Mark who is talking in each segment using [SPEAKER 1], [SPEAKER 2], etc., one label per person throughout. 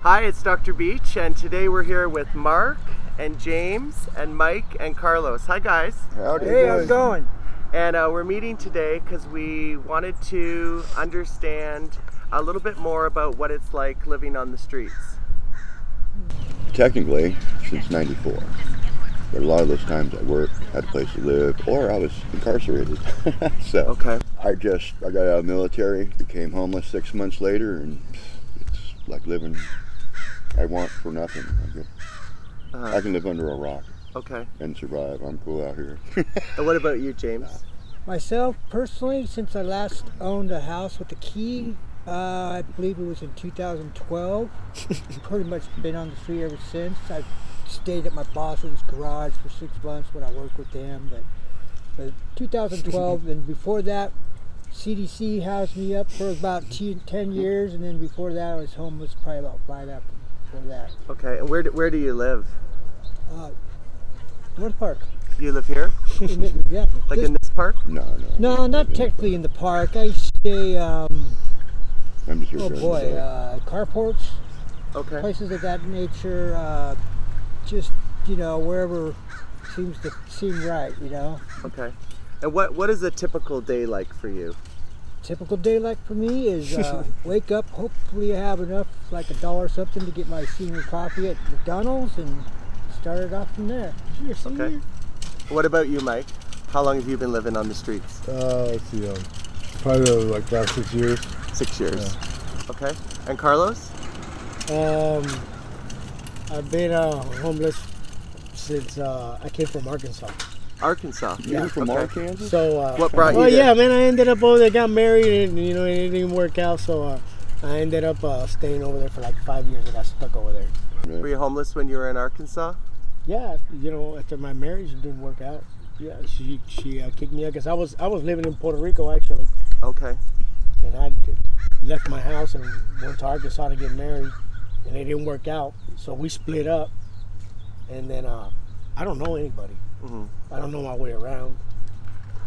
[SPEAKER 1] Hi, it's Dr. Beach, and today we're here with Mark and James and Mike and Carlos. Hi, guys.
[SPEAKER 2] Howdy.
[SPEAKER 3] Hey, how's it going?
[SPEAKER 1] And uh, we're meeting today because we wanted to understand a little bit more about what it's like living on the streets.
[SPEAKER 2] Technically, since 94. But a lot of those times I worked, had a place to live, or I was incarcerated. so
[SPEAKER 1] Okay.
[SPEAKER 2] I just, I got out of the military, became homeless six months later, and it's like living, I want for nothing. I can,
[SPEAKER 1] Uh,
[SPEAKER 2] I can live under a rock
[SPEAKER 1] okay.
[SPEAKER 2] and survive. I'm cool out here.
[SPEAKER 1] And what about you, James?
[SPEAKER 3] Myself, personally, since I last owned a house with a key, uh, I believe it was in 2012. Pretty much been on the street ever since. I've stayed at my boss's garage for six months when I worked with him. But, but 2012, and before that, CDC housed me up for about t- 10 years, and then before that, I was homeless probably about five after before that.
[SPEAKER 1] Okay. And where do, where do you live?
[SPEAKER 3] Uh, North Park.
[SPEAKER 1] You live here,
[SPEAKER 3] In it- yeah,
[SPEAKER 1] like
[SPEAKER 3] just-
[SPEAKER 1] in this park?
[SPEAKER 2] no, no.
[SPEAKER 3] No, not technically in the park. I stay, um,
[SPEAKER 2] I'm just here
[SPEAKER 3] oh
[SPEAKER 2] during the
[SPEAKER 3] boy,
[SPEAKER 2] day.
[SPEAKER 3] uh, carports,
[SPEAKER 1] Okay.
[SPEAKER 3] places of that nature. Uh, just you know, wherever seems to seem right. You know,
[SPEAKER 1] Okay. And what what is a typical day like for you?
[SPEAKER 3] typical day like for me is uh, wake up. Hopefully, I have enough, like a dollar something, to get my senior coffee at McDonald's and start it off from there.
[SPEAKER 4] You're
[SPEAKER 1] Okay. What about you, Mike? How long have you been living on the streets?
[SPEAKER 4] Uh, let's see, um, probably uh, like last six years.
[SPEAKER 1] Six years. Okay. And Carlos?
[SPEAKER 5] Um, I've been uh, homeless since uh, I came from Arkansas.
[SPEAKER 1] Arkansas.
[SPEAKER 2] You're from
[SPEAKER 1] Okay.
[SPEAKER 2] Arkansas?
[SPEAKER 5] So, uh,
[SPEAKER 1] What brought you
[SPEAKER 5] well,
[SPEAKER 1] there?
[SPEAKER 5] yeah, man, I ended up over there, got married, and you know, it didn't work out. So, uh, I ended up uh, staying over there for like five years. I got stuck over there.
[SPEAKER 1] Were you homeless when you were in Arkansas?
[SPEAKER 5] Yeah, you know, after my marriage, it didn't work out. Yeah, she she uh, kicked me out because I was I was living in Puerto Rico actually,
[SPEAKER 1] Okay.
[SPEAKER 5] and I left my house and went to Arkansas to get married, and it didn't work out. So we split up, and then uh, I don't know anybody.
[SPEAKER 1] Mhm.
[SPEAKER 5] I don't know my way around.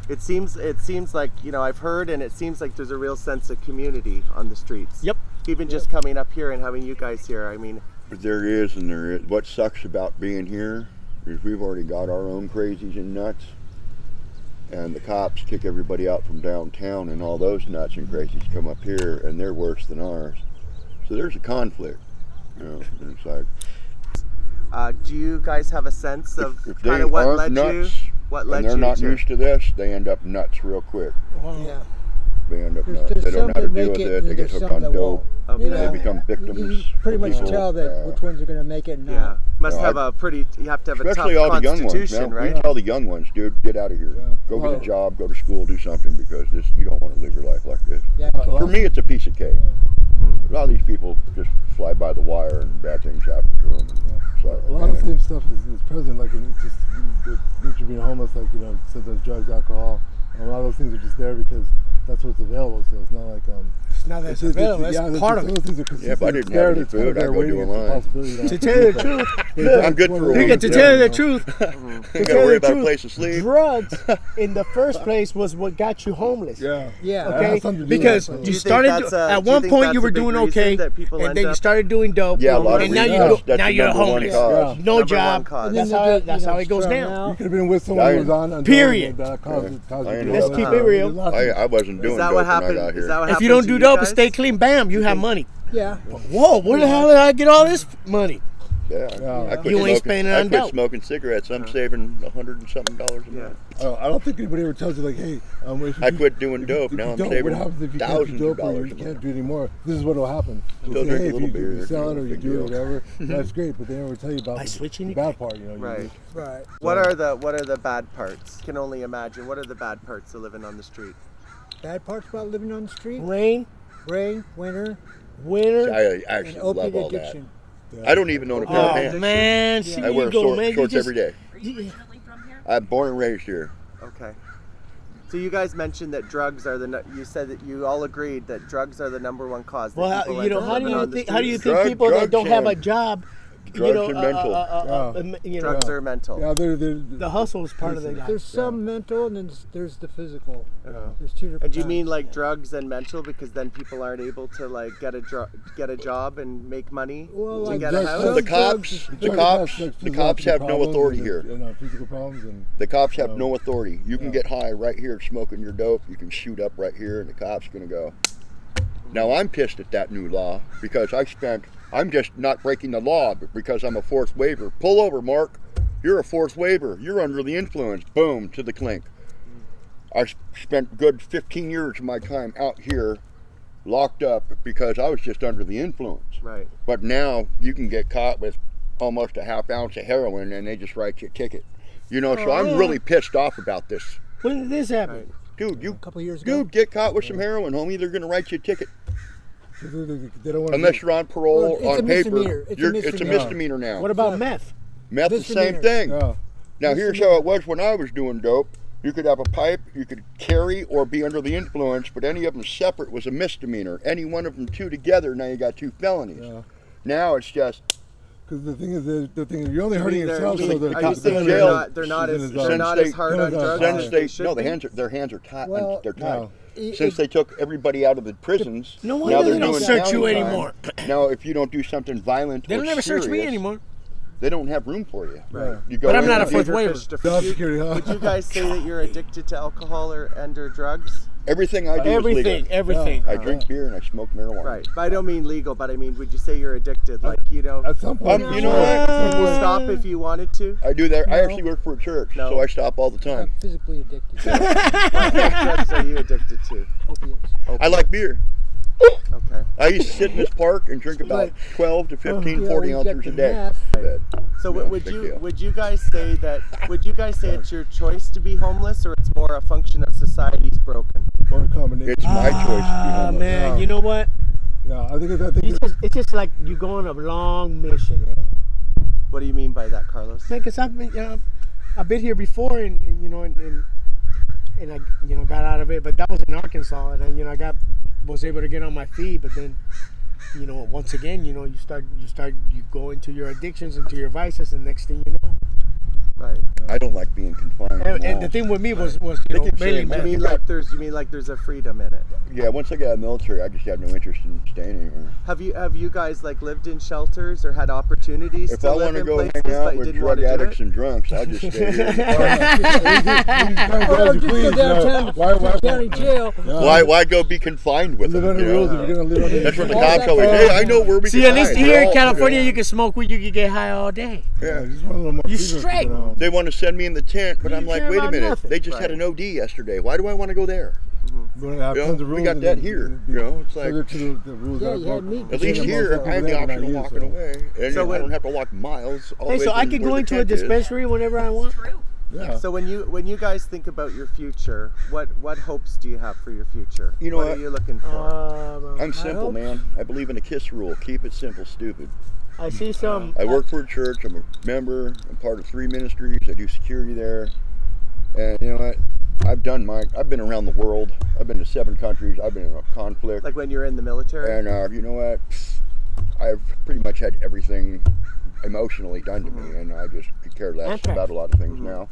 [SPEAKER 1] It seems it seems like you know I've heard, and it seems like there's a real sense of community on the streets.
[SPEAKER 5] Yep.
[SPEAKER 1] Even just coming up here and having you guys here, I mean,
[SPEAKER 2] But there is and there is. What sucks about being here is we've already got our own crazies and nuts. And the cops kick everybody out from downtown and all those nuts and crazies come up here and they're worse than ours. So there's a conflict. You know, and it's like
[SPEAKER 1] uh, do you guys have a sense of
[SPEAKER 2] if they
[SPEAKER 1] kind of what
[SPEAKER 2] aren't
[SPEAKER 1] led you?
[SPEAKER 2] nuts
[SPEAKER 1] What led
[SPEAKER 2] and they're
[SPEAKER 1] you
[SPEAKER 2] not
[SPEAKER 1] to?
[SPEAKER 2] used to this, they end up nuts real quick.
[SPEAKER 3] Wow.
[SPEAKER 5] Yeah.
[SPEAKER 2] They end up
[SPEAKER 3] There's-
[SPEAKER 2] nuts.
[SPEAKER 3] there's
[SPEAKER 2] They don't know how to
[SPEAKER 3] some that
[SPEAKER 2] deal
[SPEAKER 3] make
[SPEAKER 2] with
[SPEAKER 3] it
[SPEAKER 2] it.
[SPEAKER 3] and
[SPEAKER 2] They get
[SPEAKER 3] there's
[SPEAKER 2] hooked
[SPEAKER 3] some
[SPEAKER 2] on
[SPEAKER 3] that
[SPEAKER 2] dope.
[SPEAKER 1] Okay.
[SPEAKER 3] You
[SPEAKER 2] They
[SPEAKER 3] know,
[SPEAKER 2] become
[SPEAKER 3] You
[SPEAKER 2] victims.
[SPEAKER 3] can pretty
[SPEAKER 2] of
[SPEAKER 3] much
[SPEAKER 2] people.
[SPEAKER 3] tell that
[SPEAKER 2] Uh,
[SPEAKER 3] which ones are going to make it. And
[SPEAKER 1] Yeah.
[SPEAKER 3] not.
[SPEAKER 1] Must
[SPEAKER 2] No,
[SPEAKER 1] have
[SPEAKER 2] I-
[SPEAKER 1] a pretty. You have to have a
[SPEAKER 2] Especially all
[SPEAKER 1] tough
[SPEAKER 2] the young ones.
[SPEAKER 1] constitution,
[SPEAKER 2] Man,
[SPEAKER 1] right?
[SPEAKER 2] We tell the young ones, dude, get out of here.
[SPEAKER 4] Yeah.
[SPEAKER 2] Go
[SPEAKER 3] Well-
[SPEAKER 2] get a job, go to school, do something because this you don't want to live your life like this.
[SPEAKER 3] Yeah.
[SPEAKER 2] For me, it's a piece of cake. A lot of these people just fly by the wire and bad things happen to them. It's like,
[SPEAKER 4] A lot of the
[SPEAKER 2] man,
[SPEAKER 4] same stuff is, is present, like it's just the nature of being homeless, like you know, sometimes drugs, alcohol, and a lot of those things are just there because that's what's available. So it's not like um,
[SPEAKER 5] It's not that it's available. That's
[SPEAKER 4] yeah,
[SPEAKER 5] part of
[SPEAKER 4] those
[SPEAKER 5] it.
[SPEAKER 4] things are
[SPEAKER 2] Yeah, if I
[SPEAKER 4] consistent.
[SPEAKER 2] didn't
[SPEAKER 4] There,
[SPEAKER 2] have any
[SPEAKER 4] it's kind of
[SPEAKER 2] food, I'd
[SPEAKER 4] there
[SPEAKER 2] go do
[SPEAKER 4] waiting.
[SPEAKER 2] a
[SPEAKER 4] It's
[SPEAKER 2] line.
[SPEAKER 4] possibility that-
[SPEAKER 5] To tell you the truth,
[SPEAKER 2] I'm good for a
[SPEAKER 4] You
[SPEAKER 2] week.
[SPEAKER 4] get
[SPEAKER 5] to tell you the truth,
[SPEAKER 2] I
[SPEAKER 5] tell
[SPEAKER 2] gotta
[SPEAKER 5] you
[SPEAKER 2] worry
[SPEAKER 5] the
[SPEAKER 2] about a
[SPEAKER 5] truth,
[SPEAKER 2] place to sleep.
[SPEAKER 5] drugs in the first place was what got you homeless.
[SPEAKER 4] Yeah.
[SPEAKER 3] Yeah.
[SPEAKER 4] That
[SPEAKER 5] Okay,
[SPEAKER 4] has something to do with
[SPEAKER 5] because
[SPEAKER 4] it, so-
[SPEAKER 5] you
[SPEAKER 1] think
[SPEAKER 5] started
[SPEAKER 1] that's a-
[SPEAKER 5] at
[SPEAKER 1] do you
[SPEAKER 5] one
[SPEAKER 1] think
[SPEAKER 5] point
[SPEAKER 1] that's
[SPEAKER 5] you
[SPEAKER 1] a
[SPEAKER 5] were
[SPEAKER 1] big
[SPEAKER 5] doing
[SPEAKER 1] reason
[SPEAKER 5] okay,
[SPEAKER 1] that people
[SPEAKER 5] and
[SPEAKER 1] end
[SPEAKER 5] then you
[SPEAKER 1] up-
[SPEAKER 5] started doing dope.
[SPEAKER 2] Yeah, a lot of
[SPEAKER 5] and now
[SPEAKER 2] reasons.
[SPEAKER 5] you don't,
[SPEAKER 2] That's
[SPEAKER 5] now
[SPEAKER 2] the
[SPEAKER 5] you're
[SPEAKER 2] number one
[SPEAKER 5] homeless.
[SPEAKER 2] cause.
[SPEAKER 1] Number
[SPEAKER 5] No
[SPEAKER 1] one
[SPEAKER 5] job.
[SPEAKER 1] cause.
[SPEAKER 3] And
[SPEAKER 5] That's
[SPEAKER 3] then
[SPEAKER 5] how
[SPEAKER 3] they
[SPEAKER 5] that's
[SPEAKER 3] you know,
[SPEAKER 5] how it goes
[SPEAKER 3] thrown
[SPEAKER 5] down.
[SPEAKER 3] out.
[SPEAKER 4] You could have been with someone who was on. on
[SPEAKER 5] Period.
[SPEAKER 4] That caused, caused
[SPEAKER 2] I
[SPEAKER 4] you
[SPEAKER 2] ain't
[SPEAKER 4] to
[SPEAKER 2] Let's
[SPEAKER 4] do
[SPEAKER 5] keep
[SPEAKER 4] that.
[SPEAKER 5] it real.
[SPEAKER 4] There's a lot of-
[SPEAKER 2] I, I wasn't doing
[SPEAKER 1] Is that what
[SPEAKER 2] dope when I
[SPEAKER 1] happened?
[SPEAKER 2] got here.
[SPEAKER 1] Is that what
[SPEAKER 5] If
[SPEAKER 1] happened
[SPEAKER 5] you don't
[SPEAKER 1] to
[SPEAKER 5] do dope and
[SPEAKER 1] guys?
[SPEAKER 5] stay clean, bam, you have money.
[SPEAKER 3] Yeah.
[SPEAKER 5] Whoa, where the hell did I get all this money?
[SPEAKER 2] Yeah,
[SPEAKER 4] Yeah.
[SPEAKER 2] I quit
[SPEAKER 5] You ain't
[SPEAKER 2] smoking-
[SPEAKER 5] spending
[SPEAKER 2] I
[SPEAKER 5] on
[SPEAKER 2] quit
[SPEAKER 5] dope.
[SPEAKER 2] smoking cigarettes. I'm saving a hundred and something dollars a
[SPEAKER 1] Yeah.
[SPEAKER 2] month.
[SPEAKER 4] I don't, Oh, I don't think anybody ever tells you like, hey, um, if you
[SPEAKER 2] I
[SPEAKER 4] do-
[SPEAKER 2] quit doing
[SPEAKER 4] if you-
[SPEAKER 2] dope.
[SPEAKER 4] if
[SPEAKER 2] Now
[SPEAKER 4] you
[SPEAKER 2] I'm
[SPEAKER 4] don't,
[SPEAKER 2] saving
[SPEAKER 4] what happens if you
[SPEAKER 2] thousands
[SPEAKER 4] can't
[SPEAKER 2] of
[SPEAKER 4] do dope or
[SPEAKER 2] dollars
[SPEAKER 4] you
[SPEAKER 2] a
[SPEAKER 4] can't
[SPEAKER 2] month.
[SPEAKER 4] do it anymore? This is what will happen.
[SPEAKER 2] Still
[SPEAKER 4] They'll
[SPEAKER 2] drink a
[SPEAKER 4] hey, if
[SPEAKER 2] little
[SPEAKER 4] you,
[SPEAKER 2] beer,
[SPEAKER 4] if you sell it
[SPEAKER 2] no
[SPEAKER 4] or you
[SPEAKER 2] big
[SPEAKER 4] do it,
[SPEAKER 2] deal."
[SPEAKER 4] whatever. that's great, but they never tell you about
[SPEAKER 5] By
[SPEAKER 4] the,
[SPEAKER 5] switching
[SPEAKER 4] the
[SPEAKER 5] it.
[SPEAKER 4] bad part. You know, you
[SPEAKER 1] Right.
[SPEAKER 4] just-
[SPEAKER 3] Right.
[SPEAKER 1] What are the what are the bad parts? Can only imagine. What are the bad parts of living on the street?
[SPEAKER 3] Bad parts about living on the street:
[SPEAKER 5] Rain,
[SPEAKER 3] rain, winter,
[SPEAKER 5] winter.
[SPEAKER 2] I
[SPEAKER 3] and
[SPEAKER 2] actually
[SPEAKER 3] opiate
[SPEAKER 2] love all
[SPEAKER 3] addiction.
[SPEAKER 2] that. I don't even own a pair of
[SPEAKER 5] Oh
[SPEAKER 2] pants.
[SPEAKER 5] man, see,
[SPEAKER 2] I wear
[SPEAKER 5] you go,
[SPEAKER 2] sor-
[SPEAKER 5] man. You
[SPEAKER 2] shorts
[SPEAKER 5] just-
[SPEAKER 2] every day.
[SPEAKER 6] Are you originally from here?
[SPEAKER 2] I'm born and raised here.
[SPEAKER 1] Okay. So you guys mentioned that drugs are the. nu- You said that you all agreed that drugs are the number one cause. that
[SPEAKER 5] Well,
[SPEAKER 1] people "Oh,
[SPEAKER 5] you
[SPEAKER 1] end
[SPEAKER 5] know,
[SPEAKER 1] up
[SPEAKER 5] how do
[SPEAKER 1] living
[SPEAKER 5] you
[SPEAKER 1] on the
[SPEAKER 5] think? How do you
[SPEAKER 1] streets.
[SPEAKER 5] think
[SPEAKER 2] Drug-
[SPEAKER 5] people that
[SPEAKER 2] drugs
[SPEAKER 5] don't have a
[SPEAKER 2] and-
[SPEAKER 5] job, you
[SPEAKER 2] drugs
[SPEAKER 5] know,
[SPEAKER 2] and
[SPEAKER 5] uh,
[SPEAKER 2] mental.
[SPEAKER 5] uh, uh, uh,
[SPEAKER 4] Yeah.
[SPEAKER 5] um, you know,
[SPEAKER 1] Drugs are mental.
[SPEAKER 4] Yeah, they're, they're,
[SPEAKER 5] the hustle is part of their life.
[SPEAKER 3] There's some mental, and then there's, there's the physical.
[SPEAKER 1] Yeah.
[SPEAKER 3] There's two different.
[SPEAKER 1] And do you
[SPEAKER 3] kinds.
[SPEAKER 1] mean like drugs and mental? Because then people aren't able to like get a dr- get a job and make money
[SPEAKER 3] Well,
[SPEAKER 1] to
[SPEAKER 3] like
[SPEAKER 1] get a
[SPEAKER 4] drugs-
[SPEAKER 1] house.
[SPEAKER 3] Those
[SPEAKER 2] The
[SPEAKER 3] drugs
[SPEAKER 2] cops,
[SPEAKER 3] is-
[SPEAKER 2] the
[SPEAKER 4] Drugs
[SPEAKER 2] cops,
[SPEAKER 4] have,
[SPEAKER 2] the
[SPEAKER 4] like,
[SPEAKER 2] cops
[SPEAKER 4] physiological
[SPEAKER 2] have no
[SPEAKER 4] problems
[SPEAKER 2] authority
[SPEAKER 4] and,
[SPEAKER 2] here.
[SPEAKER 4] You know, physical problems and
[SPEAKER 2] The cops have
[SPEAKER 5] Oh.
[SPEAKER 4] Um,
[SPEAKER 2] no authority. You can
[SPEAKER 4] yeah.
[SPEAKER 2] get high right here smoking your dope. You can shoot up right here, and the cops gonna go. Now I'm pissed at that new law because I spent. I'm just not breaking the law because I'm a fourth waiver. Pull over, Mark. You're a fourth waiver. You're under the influence. Boom to the clink. I s- spent good 15 years of my time out here, locked up because I was just under the influence.
[SPEAKER 1] Right.
[SPEAKER 2] But now you can get caught with almost a half ounce of heroin and they just write you a ticket. You know, so I'm really pissed off about this.
[SPEAKER 5] When did this happen?
[SPEAKER 1] Right.
[SPEAKER 2] Dude, you
[SPEAKER 3] a couple years ago?
[SPEAKER 2] dude get caught with some heroin, homie, they're gonna write you a ticket.
[SPEAKER 4] they, they, they, they don't want
[SPEAKER 2] Unless you're on parole
[SPEAKER 3] Well, it's
[SPEAKER 2] on
[SPEAKER 3] a
[SPEAKER 2] paper.
[SPEAKER 3] misdemeanor. It's a
[SPEAKER 2] you're- It's a
[SPEAKER 3] misdemeanor.
[SPEAKER 2] misdemeanor now.
[SPEAKER 5] What about meth?
[SPEAKER 2] Meth the same
[SPEAKER 3] misdemeanor.
[SPEAKER 2] thing.
[SPEAKER 4] Yeah.
[SPEAKER 2] Now here's how it was when I was doing dope. You could have a pipe, you could carry or be under the influence, but any of them separate was a misdemeanor. Any one of them two together, now you got two felonies.
[SPEAKER 4] Yeah.
[SPEAKER 2] Now it's just
[SPEAKER 4] Because the thing is, the, the thing is, you're only hurting
[SPEAKER 1] They're-
[SPEAKER 4] yourself.
[SPEAKER 1] are
[SPEAKER 4] So the
[SPEAKER 1] you
[SPEAKER 4] cops-
[SPEAKER 1] saying
[SPEAKER 2] in
[SPEAKER 1] they're
[SPEAKER 2] jail.
[SPEAKER 1] not, they're not
[SPEAKER 4] She's
[SPEAKER 1] as
[SPEAKER 4] in the
[SPEAKER 1] they're
[SPEAKER 4] dark.
[SPEAKER 1] not
[SPEAKER 2] Since
[SPEAKER 1] as hard
[SPEAKER 4] they-
[SPEAKER 1] on
[SPEAKER 4] no, no,
[SPEAKER 1] drugs
[SPEAKER 4] no.
[SPEAKER 1] as
[SPEAKER 2] Since they,
[SPEAKER 1] they
[SPEAKER 2] no,
[SPEAKER 1] should
[SPEAKER 2] the
[SPEAKER 1] be.
[SPEAKER 2] hands are, their hands are tied.
[SPEAKER 3] Well,
[SPEAKER 2] they're tied.
[SPEAKER 3] it-
[SPEAKER 2] Since they took everybody out of the prisons,
[SPEAKER 5] No
[SPEAKER 2] now
[SPEAKER 5] wonder
[SPEAKER 2] they're
[SPEAKER 5] they don't
[SPEAKER 2] doing
[SPEAKER 5] search you
[SPEAKER 2] county time.
[SPEAKER 5] anymore.
[SPEAKER 2] Now, if you don't do something violent,
[SPEAKER 5] They
[SPEAKER 2] or
[SPEAKER 5] don't ever search me
[SPEAKER 2] serious,
[SPEAKER 5] anymore.
[SPEAKER 2] They don't have room for you.
[SPEAKER 4] Right.
[SPEAKER 2] You go
[SPEAKER 5] But I'm
[SPEAKER 2] in
[SPEAKER 5] not
[SPEAKER 2] and
[SPEAKER 5] a fourth
[SPEAKER 2] you-
[SPEAKER 5] waiver.
[SPEAKER 1] Fish to-
[SPEAKER 4] Job
[SPEAKER 1] you-
[SPEAKER 4] security, huh?
[SPEAKER 1] Would you guys say that you're addicted to alcohol or and or drugs?
[SPEAKER 2] Everything I do is
[SPEAKER 5] Everything,
[SPEAKER 2] legal.
[SPEAKER 5] everything.
[SPEAKER 2] I drink beer and I smoke marijuana.
[SPEAKER 1] Right. But I don't mean legal, but I mean, would you say you're addicted? Like you know,
[SPEAKER 4] At some point,
[SPEAKER 2] Um, you know
[SPEAKER 4] yeah.
[SPEAKER 2] what?
[SPEAKER 1] would you stop if you wanted to?
[SPEAKER 2] I do that. I
[SPEAKER 3] No.
[SPEAKER 2] actually work for a church,
[SPEAKER 1] No.
[SPEAKER 2] so I stop all the
[SPEAKER 3] I'm
[SPEAKER 2] time.
[SPEAKER 3] physically addicted.
[SPEAKER 1] What drugs are you addicted to?
[SPEAKER 3] opiates.
[SPEAKER 2] I like beer.
[SPEAKER 1] Okay.
[SPEAKER 2] I used to sit in this park and drink about
[SPEAKER 3] Right.
[SPEAKER 2] 12 to 15,
[SPEAKER 5] uh,
[SPEAKER 3] Yeah,
[SPEAKER 2] 40
[SPEAKER 3] we get
[SPEAKER 2] ounces a
[SPEAKER 3] the
[SPEAKER 2] day.
[SPEAKER 3] meth.
[SPEAKER 1] So
[SPEAKER 2] Yeah,
[SPEAKER 1] w would
[SPEAKER 2] big
[SPEAKER 1] you
[SPEAKER 2] deal.
[SPEAKER 1] would you guys say that would you guys say it's your choice to be homeless or it's more a function of society's broken?
[SPEAKER 4] Or a combination.
[SPEAKER 2] It's my choice to be
[SPEAKER 5] Ah
[SPEAKER 2] homeless.
[SPEAKER 5] man, you know what?
[SPEAKER 4] Yeah, I think it's, I think
[SPEAKER 5] It's
[SPEAKER 4] it's,
[SPEAKER 5] just, it's just like you go on a long mission.
[SPEAKER 1] What do you mean by that, Carlos?
[SPEAKER 5] Man, cause I've been, you know, I've been here before, and, and you know, and, and and I, you know, got out of it. But that was in Arkansas, and I, you know, I got was able to get on my feet. But then, you know, once again, you know, you start, you start, you go into your addictions, into your vices, and next thing you know,
[SPEAKER 1] Right.
[SPEAKER 2] I don't like being confined.
[SPEAKER 5] and,
[SPEAKER 2] to
[SPEAKER 5] and the
[SPEAKER 2] walls.
[SPEAKER 5] thing with me was was you
[SPEAKER 2] They
[SPEAKER 5] know
[SPEAKER 2] keep
[SPEAKER 5] mainly
[SPEAKER 2] saying,
[SPEAKER 1] You
[SPEAKER 5] meth.
[SPEAKER 1] mean like there's you mean like there's a freedom in it.
[SPEAKER 2] yeah, once I got out of the military, I just had no interest in staying anywhere.
[SPEAKER 1] Have you have you guys like lived in shelters or had opportunities
[SPEAKER 2] If
[SPEAKER 1] to
[SPEAKER 2] I
[SPEAKER 1] live
[SPEAKER 2] want to
[SPEAKER 1] in
[SPEAKER 2] go
[SPEAKER 1] places
[SPEAKER 2] hang
[SPEAKER 1] but
[SPEAKER 2] out
[SPEAKER 1] you
[SPEAKER 2] with
[SPEAKER 1] didn't want
[SPEAKER 2] drug
[SPEAKER 1] to do
[SPEAKER 2] addicts
[SPEAKER 1] it?
[SPEAKER 2] and drunks, I'll just stay here.
[SPEAKER 3] Oh,
[SPEAKER 4] you
[SPEAKER 3] just go
[SPEAKER 4] please,
[SPEAKER 3] downtown
[SPEAKER 4] no.
[SPEAKER 3] to
[SPEAKER 4] Why, why,
[SPEAKER 3] county jail.
[SPEAKER 2] Why, why go be confined with
[SPEAKER 4] live
[SPEAKER 2] them?
[SPEAKER 4] under
[SPEAKER 2] you know?
[SPEAKER 4] rules if you're gonna live under.
[SPEAKER 2] That's what the
[SPEAKER 3] All
[SPEAKER 2] cops
[SPEAKER 3] that
[SPEAKER 2] always
[SPEAKER 3] crap.
[SPEAKER 2] Hey, I know where we
[SPEAKER 5] See,
[SPEAKER 2] can
[SPEAKER 5] at least
[SPEAKER 2] hide.
[SPEAKER 5] here
[SPEAKER 2] They're
[SPEAKER 5] in
[SPEAKER 2] all-
[SPEAKER 5] California,
[SPEAKER 2] yeah.
[SPEAKER 5] you can smoke weed, you can get high all day.
[SPEAKER 4] Yeah, you just want a little more
[SPEAKER 5] You
[SPEAKER 4] freedom,
[SPEAKER 5] straight.
[SPEAKER 4] but, um,
[SPEAKER 2] They want to send me in the tent, but
[SPEAKER 5] You
[SPEAKER 2] I'm
[SPEAKER 5] don't
[SPEAKER 2] like,
[SPEAKER 5] care
[SPEAKER 2] wait a
[SPEAKER 5] about
[SPEAKER 2] minute.
[SPEAKER 5] nothing.
[SPEAKER 2] They just
[SPEAKER 1] Right.
[SPEAKER 2] had an OD yesterday. Why do I want to go there?
[SPEAKER 4] we're gonna have
[SPEAKER 2] You know,
[SPEAKER 4] tons of
[SPEAKER 2] we
[SPEAKER 4] rules
[SPEAKER 2] got
[SPEAKER 4] and
[SPEAKER 2] that
[SPEAKER 4] then
[SPEAKER 2] here,
[SPEAKER 4] it'd
[SPEAKER 2] you know, it's
[SPEAKER 4] further
[SPEAKER 2] like-
[SPEAKER 4] to the, the rules
[SPEAKER 3] Yeah,
[SPEAKER 4] that
[SPEAKER 3] you had
[SPEAKER 4] broke.
[SPEAKER 3] me.
[SPEAKER 4] We're
[SPEAKER 2] At least
[SPEAKER 4] saying that most
[SPEAKER 2] here,
[SPEAKER 4] people
[SPEAKER 2] I have the
[SPEAKER 4] there, but not
[SPEAKER 2] option of
[SPEAKER 4] you,
[SPEAKER 2] walking
[SPEAKER 4] so.
[SPEAKER 2] away, and
[SPEAKER 1] So
[SPEAKER 2] I
[SPEAKER 1] when-
[SPEAKER 2] don't have to walk miles. All
[SPEAKER 5] Hey,
[SPEAKER 2] the way
[SPEAKER 5] so I
[SPEAKER 2] from
[SPEAKER 5] can
[SPEAKER 2] where
[SPEAKER 5] go
[SPEAKER 2] the
[SPEAKER 5] into a
[SPEAKER 2] tent is.
[SPEAKER 5] dispensary whenever I want.
[SPEAKER 6] True.
[SPEAKER 4] Yeah.
[SPEAKER 1] So when you when you guys think about your future, what what hopes do you have for your future?
[SPEAKER 2] You know
[SPEAKER 1] what,
[SPEAKER 2] what?
[SPEAKER 1] are you looking
[SPEAKER 4] Uh,
[SPEAKER 1] for?
[SPEAKER 5] Um,
[SPEAKER 2] I'm simple,
[SPEAKER 3] hope-
[SPEAKER 2] man. I believe in a kiss rule. Keep it simple, stupid.
[SPEAKER 5] I see some.
[SPEAKER 2] I work for a church. I'm a member. I'm part of three ministries. I do security there. And you know what? I've done mine. I've been around the world. I've been to seven countries. I've been in a conflict.
[SPEAKER 1] like when you're in the military?
[SPEAKER 2] And uh, you know what? I've pretty much had everything emotionally done to
[SPEAKER 1] Mm-hmm.
[SPEAKER 2] me, and I just could care less
[SPEAKER 5] Okay.
[SPEAKER 2] about a lot of things now.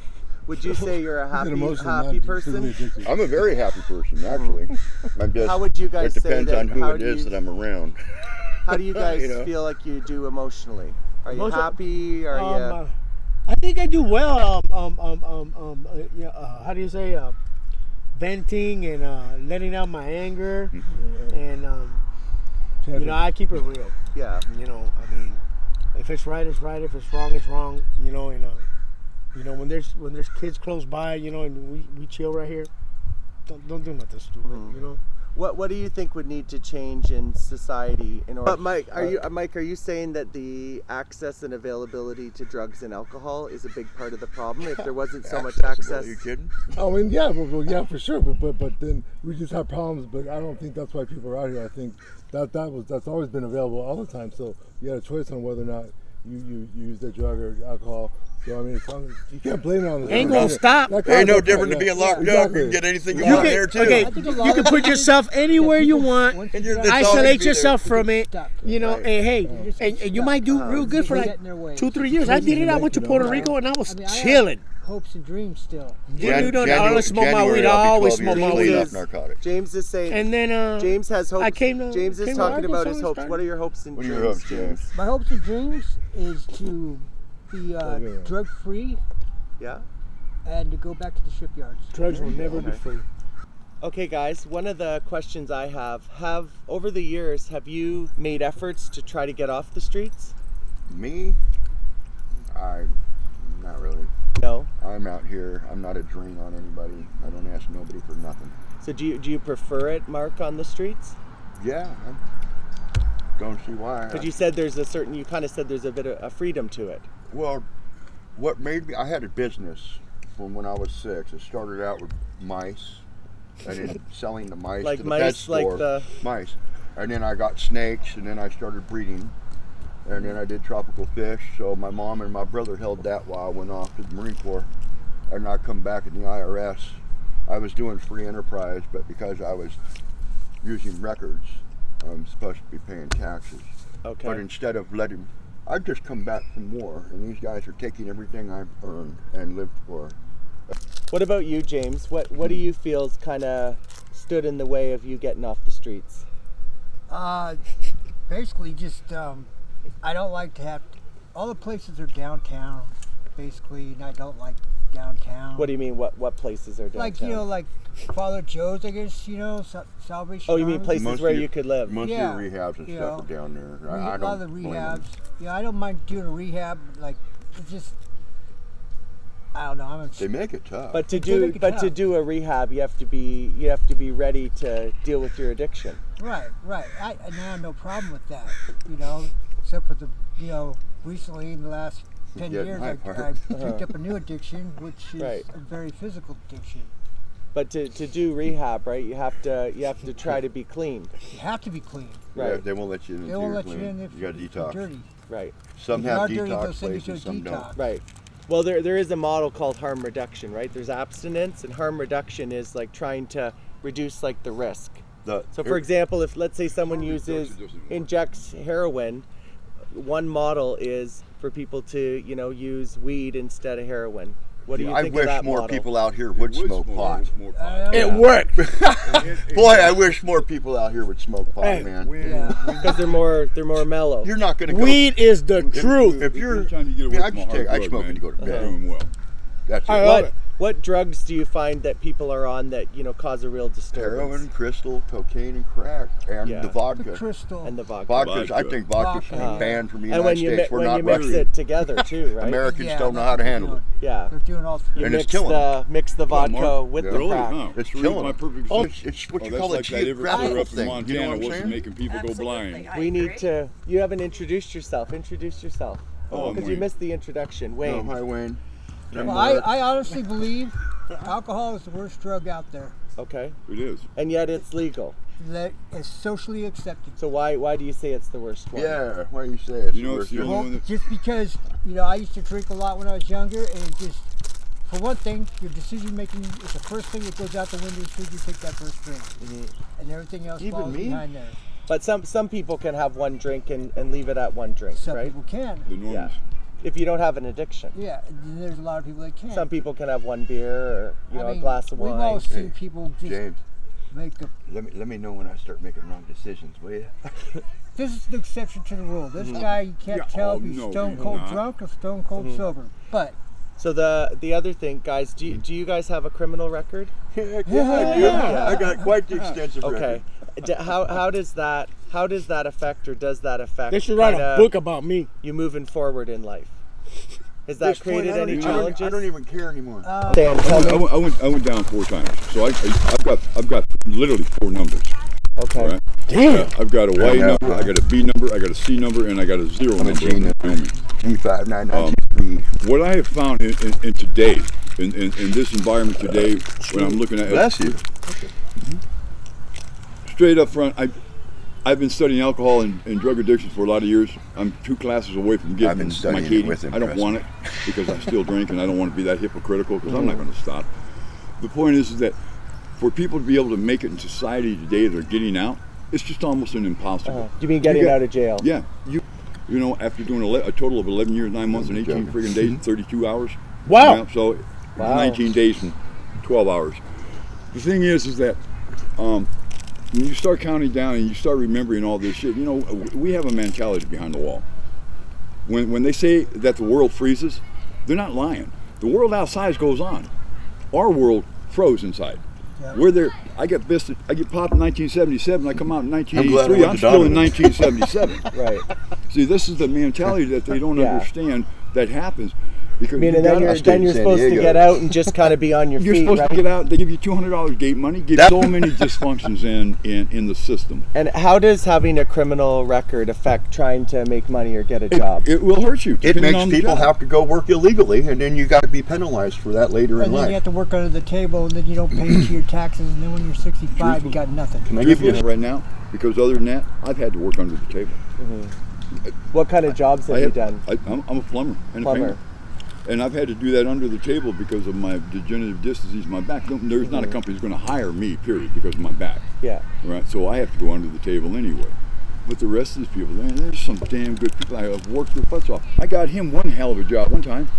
[SPEAKER 1] Would you say you're a
[SPEAKER 4] It's an
[SPEAKER 1] happy
[SPEAKER 4] emotion, not
[SPEAKER 1] happy
[SPEAKER 4] physically
[SPEAKER 1] person?
[SPEAKER 4] addicted.
[SPEAKER 2] I'm a very happy person, actually. I'm just.
[SPEAKER 1] Mm-hmm. How would you guys
[SPEAKER 2] It
[SPEAKER 1] say
[SPEAKER 2] depends
[SPEAKER 1] that-
[SPEAKER 2] on who
[SPEAKER 1] how
[SPEAKER 2] it
[SPEAKER 1] do
[SPEAKER 2] is
[SPEAKER 1] you-
[SPEAKER 2] that I'm around.
[SPEAKER 1] How do you guys
[SPEAKER 2] You know?
[SPEAKER 1] feel like you do emotionally? Are you
[SPEAKER 5] Emotion-
[SPEAKER 1] happy? Are
[SPEAKER 5] Um,
[SPEAKER 1] you
[SPEAKER 5] uh, I think I do well. Um, um, um, um, um, uh, yeah, uh, how do you say? Uh, venting and uh, letting out my anger,
[SPEAKER 6] Mm-hmm.
[SPEAKER 5] and um, you know, I keep it real.
[SPEAKER 1] yeah?
[SPEAKER 5] You know, I mean, if it's right, it's right. If it's wrong, it's wrong. You know, and uh, you know when there's when there's kids close by, you know, and we, we chill right here. Don't don't do nothing stupid.
[SPEAKER 6] Mm-hmm.
[SPEAKER 5] You know.
[SPEAKER 1] What What do you think would need to change in society in order? But Mike, are you uh, Mike? Are you saying that the access and availability to drugs and alcohol is a big part of the problem? If there wasn't so much access,
[SPEAKER 6] Are you kidding?
[SPEAKER 4] I mean, Oh, yeah, well, well, yeah, for sure. But, but but then we just have problems. But I don't think that's why people are out here. I think that that was that's always been available all the time. So you had a choice on whether or not you, you, you use that drug or alcohol. So I mean, it's, on- you can't blame it on the
[SPEAKER 5] Ain't gonna stop.
[SPEAKER 4] That
[SPEAKER 6] Ain't no
[SPEAKER 4] that-
[SPEAKER 6] different to
[SPEAKER 4] yeah,
[SPEAKER 6] being locked up. You
[SPEAKER 4] exactly.
[SPEAKER 6] can get anything you,
[SPEAKER 5] You
[SPEAKER 6] want
[SPEAKER 5] can-
[SPEAKER 6] there too.
[SPEAKER 5] okay.
[SPEAKER 3] I think a lot
[SPEAKER 5] You
[SPEAKER 3] of
[SPEAKER 5] can put
[SPEAKER 3] things-
[SPEAKER 5] yourself anywhere you want.
[SPEAKER 6] And you're, that's all gonna be
[SPEAKER 5] Isolate
[SPEAKER 6] there.
[SPEAKER 5] yourself from it.
[SPEAKER 3] Stuck.
[SPEAKER 5] You know,
[SPEAKER 6] Right.
[SPEAKER 5] and hey, and, and you might do real good for
[SPEAKER 3] They
[SPEAKER 5] like
[SPEAKER 3] get in their way.
[SPEAKER 5] two, three years. I did it. I went to Puerto Rico and I was chilling.
[SPEAKER 3] Hopes and dreams still.
[SPEAKER 6] Jan-
[SPEAKER 5] Didn't do nothing. I
[SPEAKER 6] January-
[SPEAKER 5] always smoke my
[SPEAKER 6] January,
[SPEAKER 5] weed.
[SPEAKER 6] I'll
[SPEAKER 5] I
[SPEAKER 6] be
[SPEAKER 5] always
[SPEAKER 6] 12
[SPEAKER 5] smoke
[SPEAKER 6] years
[SPEAKER 5] my
[SPEAKER 6] clean
[SPEAKER 5] weed.
[SPEAKER 6] off narcotics.
[SPEAKER 1] James is saying.
[SPEAKER 5] And then uh,
[SPEAKER 1] James has hopes.
[SPEAKER 5] I came to-
[SPEAKER 1] James is
[SPEAKER 5] came to
[SPEAKER 1] talking about his
[SPEAKER 5] Arkansas and
[SPEAKER 1] hopes.
[SPEAKER 5] started-
[SPEAKER 1] What are your hopes and
[SPEAKER 6] What are
[SPEAKER 1] dreams,
[SPEAKER 6] your hopes,
[SPEAKER 1] James?
[SPEAKER 6] James?
[SPEAKER 3] My hopes and dreams is to be
[SPEAKER 5] Oh,
[SPEAKER 3] uh,
[SPEAKER 4] yeah.
[SPEAKER 3] drug free
[SPEAKER 1] Yeah.
[SPEAKER 3] and to go back to the shipyards.
[SPEAKER 5] drugs will never be free.
[SPEAKER 1] Okay, guys. One of the questions I have have over the years have you made efforts to try to get off the streets?
[SPEAKER 2] Me? I, not really.
[SPEAKER 1] No.
[SPEAKER 2] I'm out here. I'm not a drain on anybody. I don't ask nobody for nothing.
[SPEAKER 1] So do you do you prefer it, Mark, on the streets?
[SPEAKER 2] Yeah. I don't see why.
[SPEAKER 1] But you said there's a certain you kind of said there's a bit of a freedom to it.
[SPEAKER 2] Well, what made me, I had a business from when I was six. It started out with mice. And then selling the mice
[SPEAKER 1] Like
[SPEAKER 2] to the pet
[SPEAKER 1] mice,
[SPEAKER 2] store.
[SPEAKER 1] like the-
[SPEAKER 2] mice. And then I got snakes, and then I started breeding. And then I did tropical fish. So my mom and my brother held that while I went off to the Marine Corps. And I come back in the IRS. I was doing free enterprise, but because I was using records, I'm supposed to be paying taxes.
[SPEAKER 1] Okay.
[SPEAKER 2] But instead of letting, I just come back from war, and these guys are taking everything I've earned and lived for.
[SPEAKER 1] What about you, James? What what do you feel's kind of stood in the way of you getting off the streets?
[SPEAKER 3] Uh, basically, just um, I don't like to have all the places are downtown, basically, and I don't like downtown.
[SPEAKER 1] What do you mean? What what places are downtown?
[SPEAKER 3] like you know, like Father Joe's, I guess you know, Sal- Salvation.
[SPEAKER 1] oh, you mean
[SPEAKER 3] Army.
[SPEAKER 1] places
[SPEAKER 2] Most of
[SPEAKER 1] where
[SPEAKER 2] your-
[SPEAKER 1] you could live?
[SPEAKER 2] Most
[SPEAKER 3] Yeah,
[SPEAKER 2] of the rehabs and
[SPEAKER 3] you
[SPEAKER 2] stuff
[SPEAKER 3] know.
[SPEAKER 2] are down there.
[SPEAKER 3] Re-
[SPEAKER 2] I, I
[SPEAKER 3] a
[SPEAKER 2] don't
[SPEAKER 3] lot of the
[SPEAKER 2] blame them.
[SPEAKER 3] rehabs. Yeah, I don't mind doing a rehab. Like, it's just I don't know. I'm a,
[SPEAKER 2] They make it tough.
[SPEAKER 1] But to
[SPEAKER 3] They
[SPEAKER 1] do
[SPEAKER 3] make it
[SPEAKER 1] but to
[SPEAKER 3] tough.
[SPEAKER 1] do a rehab, you have to be you have to be ready to deal with your addiction.
[SPEAKER 3] right, right. I and I have no problem with that. You know, except for the you know recently in the last. Ten
[SPEAKER 2] Yeah,
[SPEAKER 3] years,
[SPEAKER 2] my
[SPEAKER 3] I,
[SPEAKER 2] part.
[SPEAKER 3] I picked up a new addiction, which is
[SPEAKER 1] Right.
[SPEAKER 3] a very physical addiction.
[SPEAKER 1] But to, to do rehab, right? You have to you have to try to be clean.
[SPEAKER 3] You have to be clean.
[SPEAKER 2] Yeah,
[SPEAKER 1] Right.
[SPEAKER 2] they won't let you in.
[SPEAKER 3] They
[SPEAKER 2] if
[SPEAKER 3] won't
[SPEAKER 2] you're
[SPEAKER 3] let you
[SPEAKER 2] clean.
[SPEAKER 3] in if
[SPEAKER 2] You got to
[SPEAKER 3] you're
[SPEAKER 2] detox.
[SPEAKER 3] dirty.
[SPEAKER 1] Right.
[SPEAKER 2] Some
[SPEAKER 3] If you
[SPEAKER 2] have
[SPEAKER 3] are dirty, they'll
[SPEAKER 2] detox
[SPEAKER 3] send you to
[SPEAKER 2] places,
[SPEAKER 3] a
[SPEAKER 2] some
[SPEAKER 3] detox.
[SPEAKER 2] don't.
[SPEAKER 1] Right. Well, there there is a model called harm reduction, right? There's abstinence, and harm reduction is like trying to reduce like the risk.
[SPEAKER 2] The-
[SPEAKER 1] So, for
[SPEAKER 2] here-
[SPEAKER 1] example, if let's say someone
[SPEAKER 2] reduction
[SPEAKER 1] uses
[SPEAKER 2] doesn't work.
[SPEAKER 1] injects heroin, one model is for people to you know use weed instead of heroin. What do you
[SPEAKER 2] I
[SPEAKER 1] think
[SPEAKER 2] wish
[SPEAKER 1] of that
[SPEAKER 2] more
[SPEAKER 1] model?
[SPEAKER 2] people out here would smoke pot.
[SPEAKER 3] I
[SPEAKER 5] It worked.
[SPEAKER 2] Boy, I wish more people out here would smoke pot,
[SPEAKER 5] Hey,
[SPEAKER 2] man.
[SPEAKER 3] don't- yeah.
[SPEAKER 1] because they're more they're more mellow.
[SPEAKER 2] You're not gonna go.
[SPEAKER 5] Weed is the truth.
[SPEAKER 2] If you're,
[SPEAKER 7] trying to get
[SPEAKER 2] I
[SPEAKER 7] away
[SPEAKER 2] mean, I
[SPEAKER 7] from a
[SPEAKER 2] just
[SPEAKER 7] hard
[SPEAKER 2] take, I
[SPEAKER 7] drug,
[SPEAKER 2] smoke
[SPEAKER 7] man,
[SPEAKER 2] and go to
[SPEAKER 7] you're
[SPEAKER 2] bed.
[SPEAKER 7] doing well.
[SPEAKER 2] That's
[SPEAKER 5] I
[SPEAKER 2] it.
[SPEAKER 5] love
[SPEAKER 1] what
[SPEAKER 5] it.
[SPEAKER 1] what drugs do you find that people are on that you know cause a real disturbance?
[SPEAKER 2] Heroin, crystal, cocaine, and crack, and
[SPEAKER 1] Yeah.
[SPEAKER 2] the
[SPEAKER 3] The
[SPEAKER 2] vodka.
[SPEAKER 3] crystal.
[SPEAKER 1] and the vodka.
[SPEAKER 2] Vodka's, I
[SPEAKER 7] Vodka.
[SPEAKER 2] think vodka should
[SPEAKER 3] Vodka.
[SPEAKER 2] be banned from the
[SPEAKER 1] and when
[SPEAKER 2] United
[SPEAKER 1] you
[SPEAKER 2] States.
[SPEAKER 1] mi-
[SPEAKER 2] We're
[SPEAKER 1] when
[SPEAKER 2] not
[SPEAKER 1] you mix
[SPEAKER 2] Russian.
[SPEAKER 1] it together too, right?
[SPEAKER 2] Americans
[SPEAKER 3] Yeah,
[SPEAKER 2] don't know
[SPEAKER 3] that's
[SPEAKER 2] how to
[SPEAKER 3] what they're
[SPEAKER 2] handle it.
[SPEAKER 3] doing.
[SPEAKER 1] yeah.
[SPEAKER 3] They're doing all three.
[SPEAKER 1] You
[SPEAKER 2] And it's
[SPEAKER 1] mix
[SPEAKER 2] killing
[SPEAKER 1] the mix the
[SPEAKER 7] Mark.
[SPEAKER 1] vodka with the
[SPEAKER 7] really,
[SPEAKER 1] crack.
[SPEAKER 7] huh?
[SPEAKER 2] It's
[SPEAKER 7] Three,
[SPEAKER 2] killing
[SPEAKER 7] My
[SPEAKER 2] them.
[SPEAKER 7] perfect
[SPEAKER 2] Oh,
[SPEAKER 7] example.
[SPEAKER 2] it's, it's what
[SPEAKER 7] Oh,
[SPEAKER 2] you
[SPEAKER 7] that's
[SPEAKER 2] call
[SPEAKER 7] like
[SPEAKER 2] a
[SPEAKER 7] that ever up
[SPEAKER 2] geographical
[SPEAKER 7] in
[SPEAKER 2] thing.
[SPEAKER 7] Montana
[SPEAKER 2] you know what I'm
[SPEAKER 7] wasn't
[SPEAKER 2] saying?
[SPEAKER 7] making people go blind.
[SPEAKER 1] We need to. You haven't introduced yourself. Introduce yourself.
[SPEAKER 7] Oh, I'm
[SPEAKER 1] because you
[SPEAKER 7] Wayne.
[SPEAKER 1] missed the introduction,
[SPEAKER 2] No,
[SPEAKER 1] Wayne.
[SPEAKER 2] Oh, hi Wayne.
[SPEAKER 3] Well, I, I honestly believe alcohol is the worst drug out there.
[SPEAKER 1] Okay,
[SPEAKER 7] It is.
[SPEAKER 1] and yet it's legal.
[SPEAKER 3] That is socially accepted.
[SPEAKER 1] So why why do you say it's the worst one?
[SPEAKER 2] yeah, why you say it?
[SPEAKER 7] You know, it's the only
[SPEAKER 3] Well,
[SPEAKER 7] one that
[SPEAKER 3] just because you know I used to drink a lot when I was younger, and it just for one thing, your decision making is the first thing that goes out the window as soon as you take that first drink,
[SPEAKER 1] Mm-hmm.
[SPEAKER 3] and everything else
[SPEAKER 2] Even
[SPEAKER 3] falls
[SPEAKER 2] me?
[SPEAKER 3] behind there.
[SPEAKER 1] But some some people can have one drink and, and leave it at one drink,
[SPEAKER 3] Some
[SPEAKER 1] right?
[SPEAKER 3] people can.
[SPEAKER 7] the norms.
[SPEAKER 1] If you don't have an addiction,
[SPEAKER 3] Yeah, and then there's a lot of people that can't.
[SPEAKER 1] some people can have one beer or you know
[SPEAKER 3] I mean,
[SPEAKER 1] a glass of wine.
[SPEAKER 3] We've all
[SPEAKER 2] Hey,
[SPEAKER 3] seen people just
[SPEAKER 2] James,
[SPEAKER 3] make a.
[SPEAKER 2] let me let me know when I start making wrong decisions, will you?
[SPEAKER 3] This is an exception to the rule. This
[SPEAKER 1] Mm-hmm.
[SPEAKER 3] guy, you can't
[SPEAKER 7] Yeah,
[SPEAKER 3] tell
[SPEAKER 7] oh,
[SPEAKER 3] if he's
[SPEAKER 7] no,
[SPEAKER 3] stone
[SPEAKER 7] you're
[SPEAKER 3] cold
[SPEAKER 7] not.
[SPEAKER 3] drunk or stone cold sober. But
[SPEAKER 1] So the the other thing, guys, do you, do you guys have a criminal record?
[SPEAKER 2] yeah, I do. I got quite the extensive
[SPEAKER 1] Okay.
[SPEAKER 2] record.
[SPEAKER 1] D- how how does that How does that affect, or does that affect?
[SPEAKER 5] They should write a
[SPEAKER 1] kinda
[SPEAKER 5] book about me.
[SPEAKER 1] You moving forward in life. Has that created any
[SPEAKER 2] I don't, I
[SPEAKER 1] challenges?
[SPEAKER 2] don't even care anymore.
[SPEAKER 1] Dan,
[SPEAKER 6] I
[SPEAKER 1] tell
[SPEAKER 6] went, I
[SPEAKER 1] me.
[SPEAKER 6] went- I went, I went down four times. So I, I, I've got I've got literally four numbers.
[SPEAKER 1] Okay.
[SPEAKER 6] Right?
[SPEAKER 5] Damn.
[SPEAKER 6] I've got a Y
[SPEAKER 2] Yeah.
[SPEAKER 6] number, I got a B number, I got a C number, and I got a zero
[SPEAKER 2] I'm a
[SPEAKER 6] number.
[SPEAKER 2] G number.
[SPEAKER 6] Wyoming.
[SPEAKER 2] G599
[SPEAKER 6] Um,
[SPEAKER 2] GP.
[SPEAKER 6] What I have found in, in, in today, in, in, in this environment today, when I'm looking at it,
[SPEAKER 2] Bless you.
[SPEAKER 6] straight up front, I, I've been studying alcohol and, and drug addiction for a lot of years. I'm two classes away from getting
[SPEAKER 2] I've been studying
[SPEAKER 6] my
[SPEAKER 2] it
[SPEAKER 6] Katie.
[SPEAKER 2] with him,
[SPEAKER 6] I don't
[SPEAKER 2] trust
[SPEAKER 6] want it because I still drink and I don't want to be that hypocritical because I'm not
[SPEAKER 2] Mm-hmm.
[SPEAKER 6] going to stop. The point is, is that for people to be able to make it in society today that are getting out, it's just almost an impossible.
[SPEAKER 2] Uh-huh.
[SPEAKER 1] You mean getting
[SPEAKER 6] got-
[SPEAKER 1] out of jail?
[SPEAKER 6] Yeah, you, you know, after doing ele- a total of 11 years, 9 months, and 18
[SPEAKER 2] joking. Mm-hmm.
[SPEAKER 6] friggin' days, 32 hours.
[SPEAKER 5] Wow.
[SPEAKER 6] Yeah, so
[SPEAKER 1] Wow.
[SPEAKER 6] 19 days and 12 hours. The thing is, is that um, when you start counting down and you start remembering all this shit, you know, w- we have a mentality behind the wall. When, when they say that the world freezes, they're not lying. The world outside goes on. Our world froze inside. We're there. I get fisted. I get popped in 1977. I come out in
[SPEAKER 2] I'm glad I
[SPEAKER 6] 1983.
[SPEAKER 2] went
[SPEAKER 6] I'm,
[SPEAKER 2] to
[SPEAKER 6] still in
[SPEAKER 2] Donovan.
[SPEAKER 6] 1977.
[SPEAKER 1] Right.
[SPEAKER 6] See, this is the mentality that they don't
[SPEAKER 1] Yeah.
[SPEAKER 6] understand that happens because
[SPEAKER 1] I mean,
[SPEAKER 6] you
[SPEAKER 1] and then
[SPEAKER 6] gotta-
[SPEAKER 1] you're
[SPEAKER 2] stayed
[SPEAKER 1] then
[SPEAKER 2] in
[SPEAKER 1] you're
[SPEAKER 2] San
[SPEAKER 1] supposed to
[SPEAKER 2] Diego.
[SPEAKER 1] get out and just kind of be on your
[SPEAKER 6] you're
[SPEAKER 1] feet,
[SPEAKER 6] supposed
[SPEAKER 1] right?
[SPEAKER 6] to get out. They give you two hundred dollars gate money. Give
[SPEAKER 2] That-
[SPEAKER 6] so many dysfunctions in in in the system.
[SPEAKER 1] and how does having a criminal record affect trying to make money or get a job?
[SPEAKER 6] It will hurt you.
[SPEAKER 2] It
[SPEAKER 6] depending
[SPEAKER 2] makes
[SPEAKER 6] on the
[SPEAKER 2] people
[SPEAKER 6] job.
[SPEAKER 2] have to go work illegally, and then you got to be penalized for that later in
[SPEAKER 3] And then you
[SPEAKER 2] life.
[SPEAKER 3] have to work under the table, and then you don't pay to your taxes, and then when you're 65, you got nothing.
[SPEAKER 2] Can I give you
[SPEAKER 6] Truthfully,
[SPEAKER 2] a
[SPEAKER 6] right now, because other than that, I've had to work under the table.
[SPEAKER 1] what kind of jobs have
[SPEAKER 6] I
[SPEAKER 1] you
[SPEAKER 6] have,
[SPEAKER 1] done?
[SPEAKER 6] I, I'm, I'm a plumber and
[SPEAKER 1] Plumber.
[SPEAKER 6] a painter. And I've had to do that under the table because of my degenerative disc disease, my back. Don't- There's not a
[SPEAKER 2] Mm-hmm.
[SPEAKER 6] company that's going to hire me, period, because of my back.
[SPEAKER 1] Yeah.
[SPEAKER 6] Right, so I have to go under the table anyway. But the rest of these people, man, there's some damn good people. I have worked their butts off. I got him one hell of a job one time,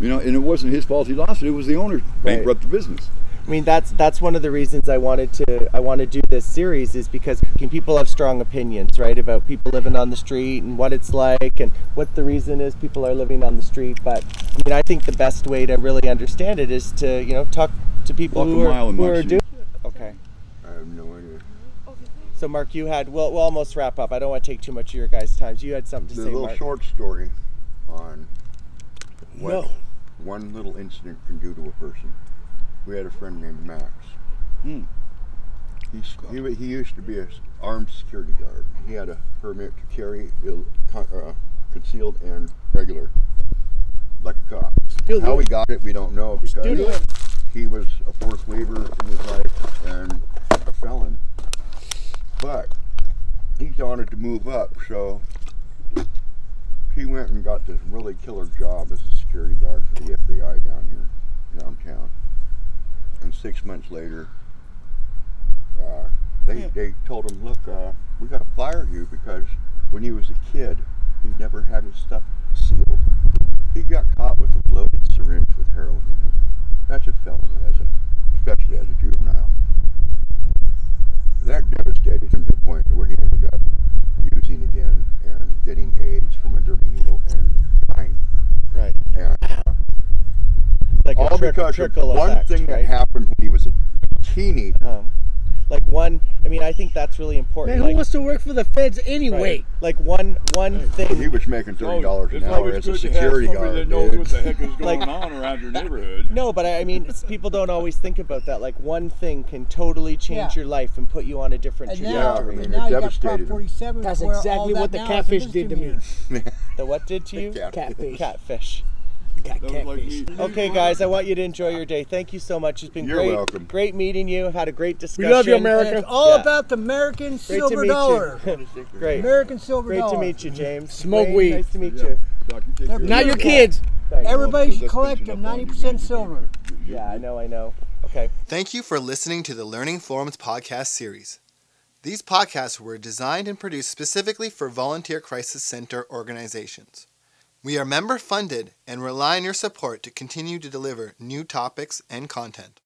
[SPEAKER 6] you know, and it wasn't his fault. He lost it. It was the owner bankrupt the business.
[SPEAKER 1] I mean, that's that's one of the reasons I wanted to I want to do this series is because can people have strong opinions, right, about people living on the street and what it's like and what the reason is people are living on the street. But I mean, I think the best way to really understand it is to you know talk to people
[SPEAKER 6] Walk a
[SPEAKER 1] who are,
[SPEAKER 6] mile in
[SPEAKER 1] who
[SPEAKER 6] my
[SPEAKER 1] are
[SPEAKER 6] shoes.
[SPEAKER 1] doing. Okay.
[SPEAKER 2] I have no idea.
[SPEAKER 1] So, Mark, you had, we'll, we'll almost wrap up. I don't want to take too much of your guys' time. You had something to
[SPEAKER 2] The
[SPEAKER 1] say,
[SPEAKER 2] little
[SPEAKER 1] Mark.
[SPEAKER 2] short story on what
[SPEAKER 5] No.
[SPEAKER 2] one little incident can do to a person. We had a friend named Max.
[SPEAKER 6] Hmm.
[SPEAKER 2] He's, he, wa- he used to be an armed security guard. He had a permit to carry ill, con, uh, concealed and regular, like a cop.
[SPEAKER 5] Still do
[SPEAKER 2] How he
[SPEAKER 5] it.
[SPEAKER 2] got it, we don't know because
[SPEAKER 5] Still do it.
[SPEAKER 2] he was a fourth waiver in his life and a felon. But he wanted to move up, so he went and got this really killer job as a security guard for the FBI down here, downtown. And six months later, uh, they, they told him, look, uh, we got to fire you because when he was a kid, he never had his stuff sealed. He got caught with a loaded syringe with heroin in it. That's a felony, as a, especially as a juvenile. That devastated him to the point where he ended up using again and getting AIDS from a dirty needle and dying.
[SPEAKER 1] Right.
[SPEAKER 2] And uh,
[SPEAKER 1] Like a
[SPEAKER 2] all
[SPEAKER 1] trick-
[SPEAKER 2] because of
[SPEAKER 1] trickle
[SPEAKER 2] one
[SPEAKER 1] effect,
[SPEAKER 2] thing that
[SPEAKER 1] right?
[SPEAKER 2] happened when he was a teeny.
[SPEAKER 1] Um, like one, I mean, I think that's really important.
[SPEAKER 5] Man, who
[SPEAKER 1] like,
[SPEAKER 5] wants to work for the feds anyway?
[SPEAKER 1] right. Like one, one
[SPEAKER 2] He
[SPEAKER 1] thing.
[SPEAKER 2] was making thirty dollars an
[SPEAKER 6] Oh, It's
[SPEAKER 2] hour
[SPEAKER 6] always
[SPEAKER 2] as a
[SPEAKER 6] good to have
[SPEAKER 2] security
[SPEAKER 6] somebody
[SPEAKER 2] guard.
[SPEAKER 6] that knows
[SPEAKER 2] dude.
[SPEAKER 6] what the heck is going
[SPEAKER 1] Like-
[SPEAKER 6] on around your neighborhood.
[SPEAKER 1] No, but I, I mean, it's- people don't always think about that. Like one thing can totally change
[SPEAKER 3] Yeah.
[SPEAKER 1] your life and put you on a different
[SPEAKER 3] And
[SPEAKER 1] trajectory.
[SPEAKER 3] now,
[SPEAKER 2] I mean,
[SPEAKER 3] and
[SPEAKER 2] it
[SPEAKER 3] now you got
[SPEAKER 2] devastated
[SPEAKER 3] Prop
[SPEAKER 2] him.
[SPEAKER 3] 47.
[SPEAKER 5] That's
[SPEAKER 3] where all
[SPEAKER 5] exactly
[SPEAKER 3] that
[SPEAKER 5] what the
[SPEAKER 3] now is
[SPEAKER 5] catfish
[SPEAKER 3] supposed
[SPEAKER 5] did to me.
[SPEAKER 1] The what did to you?
[SPEAKER 2] Yeah.
[SPEAKER 5] Catfish.
[SPEAKER 1] Catfish.
[SPEAKER 5] Got
[SPEAKER 6] That was like
[SPEAKER 5] catfish.
[SPEAKER 6] me.
[SPEAKER 1] Okay, guys, I want you to enjoy your day. Thank you so much. It's been
[SPEAKER 2] You're
[SPEAKER 1] great.
[SPEAKER 2] welcome.
[SPEAKER 1] Great meeting you. Had a great discussion.
[SPEAKER 5] you,
[SPEAKER 3] And
[SPEAKER 5] America.
[SPEAKER 3] it's all
[SPEAKER 1] Yeah.
[SPEAKER 3] about the American
[SPEAKER 1] Great to
[SPEAKER 3] silver
[SPEAKER 1] meet you.
[SPEAKER 3] dollar.
[SPEAKER 1] Great.
[SPEAKER 3] American silver
[SPEAKER 1] Great
[SPEAKER 3] dollar.
[SPEAKER 1] to meet you, James.
[SPEAKER 5] Smoke
[SPEAKER 1] Wayne,
[SPEAKER 5] weed.
[SPEAKER 1] Nice to meet
[SPEAKER 6] Yeah.
[SPEAKER 1] you.
[SPEAKER 6] Doc, you take
[SPEAKER 3] They're
[SPEAKER 6] care of
[SPEAKER 5] Not
[SPEAKER 6] yourself.
[SPEAKER 5] your kids.
[SPEAKER 1] Thanks.
[SPEAKER 3] Everybody should
[SPEAKER 6] That's
[SPEAKER 3] collect
[SPEAKER 6] pinching
[SPEAKER 3] them.
[SPEAKER 6] up on you,
[SPEAKER 3] 90%
[SPEAKER 6] man.
[SPEAKER 3] silver.
[SPEAKER 1] Yeah, I know, I know. Okay.
[SPEAKER 8] Thank you for listening to the Learning Forums podcast series. These podcasts were designed and produced specifically for volunteer crisis center organizations. We are member funded and rely on your support to continue to deliver new topics and content.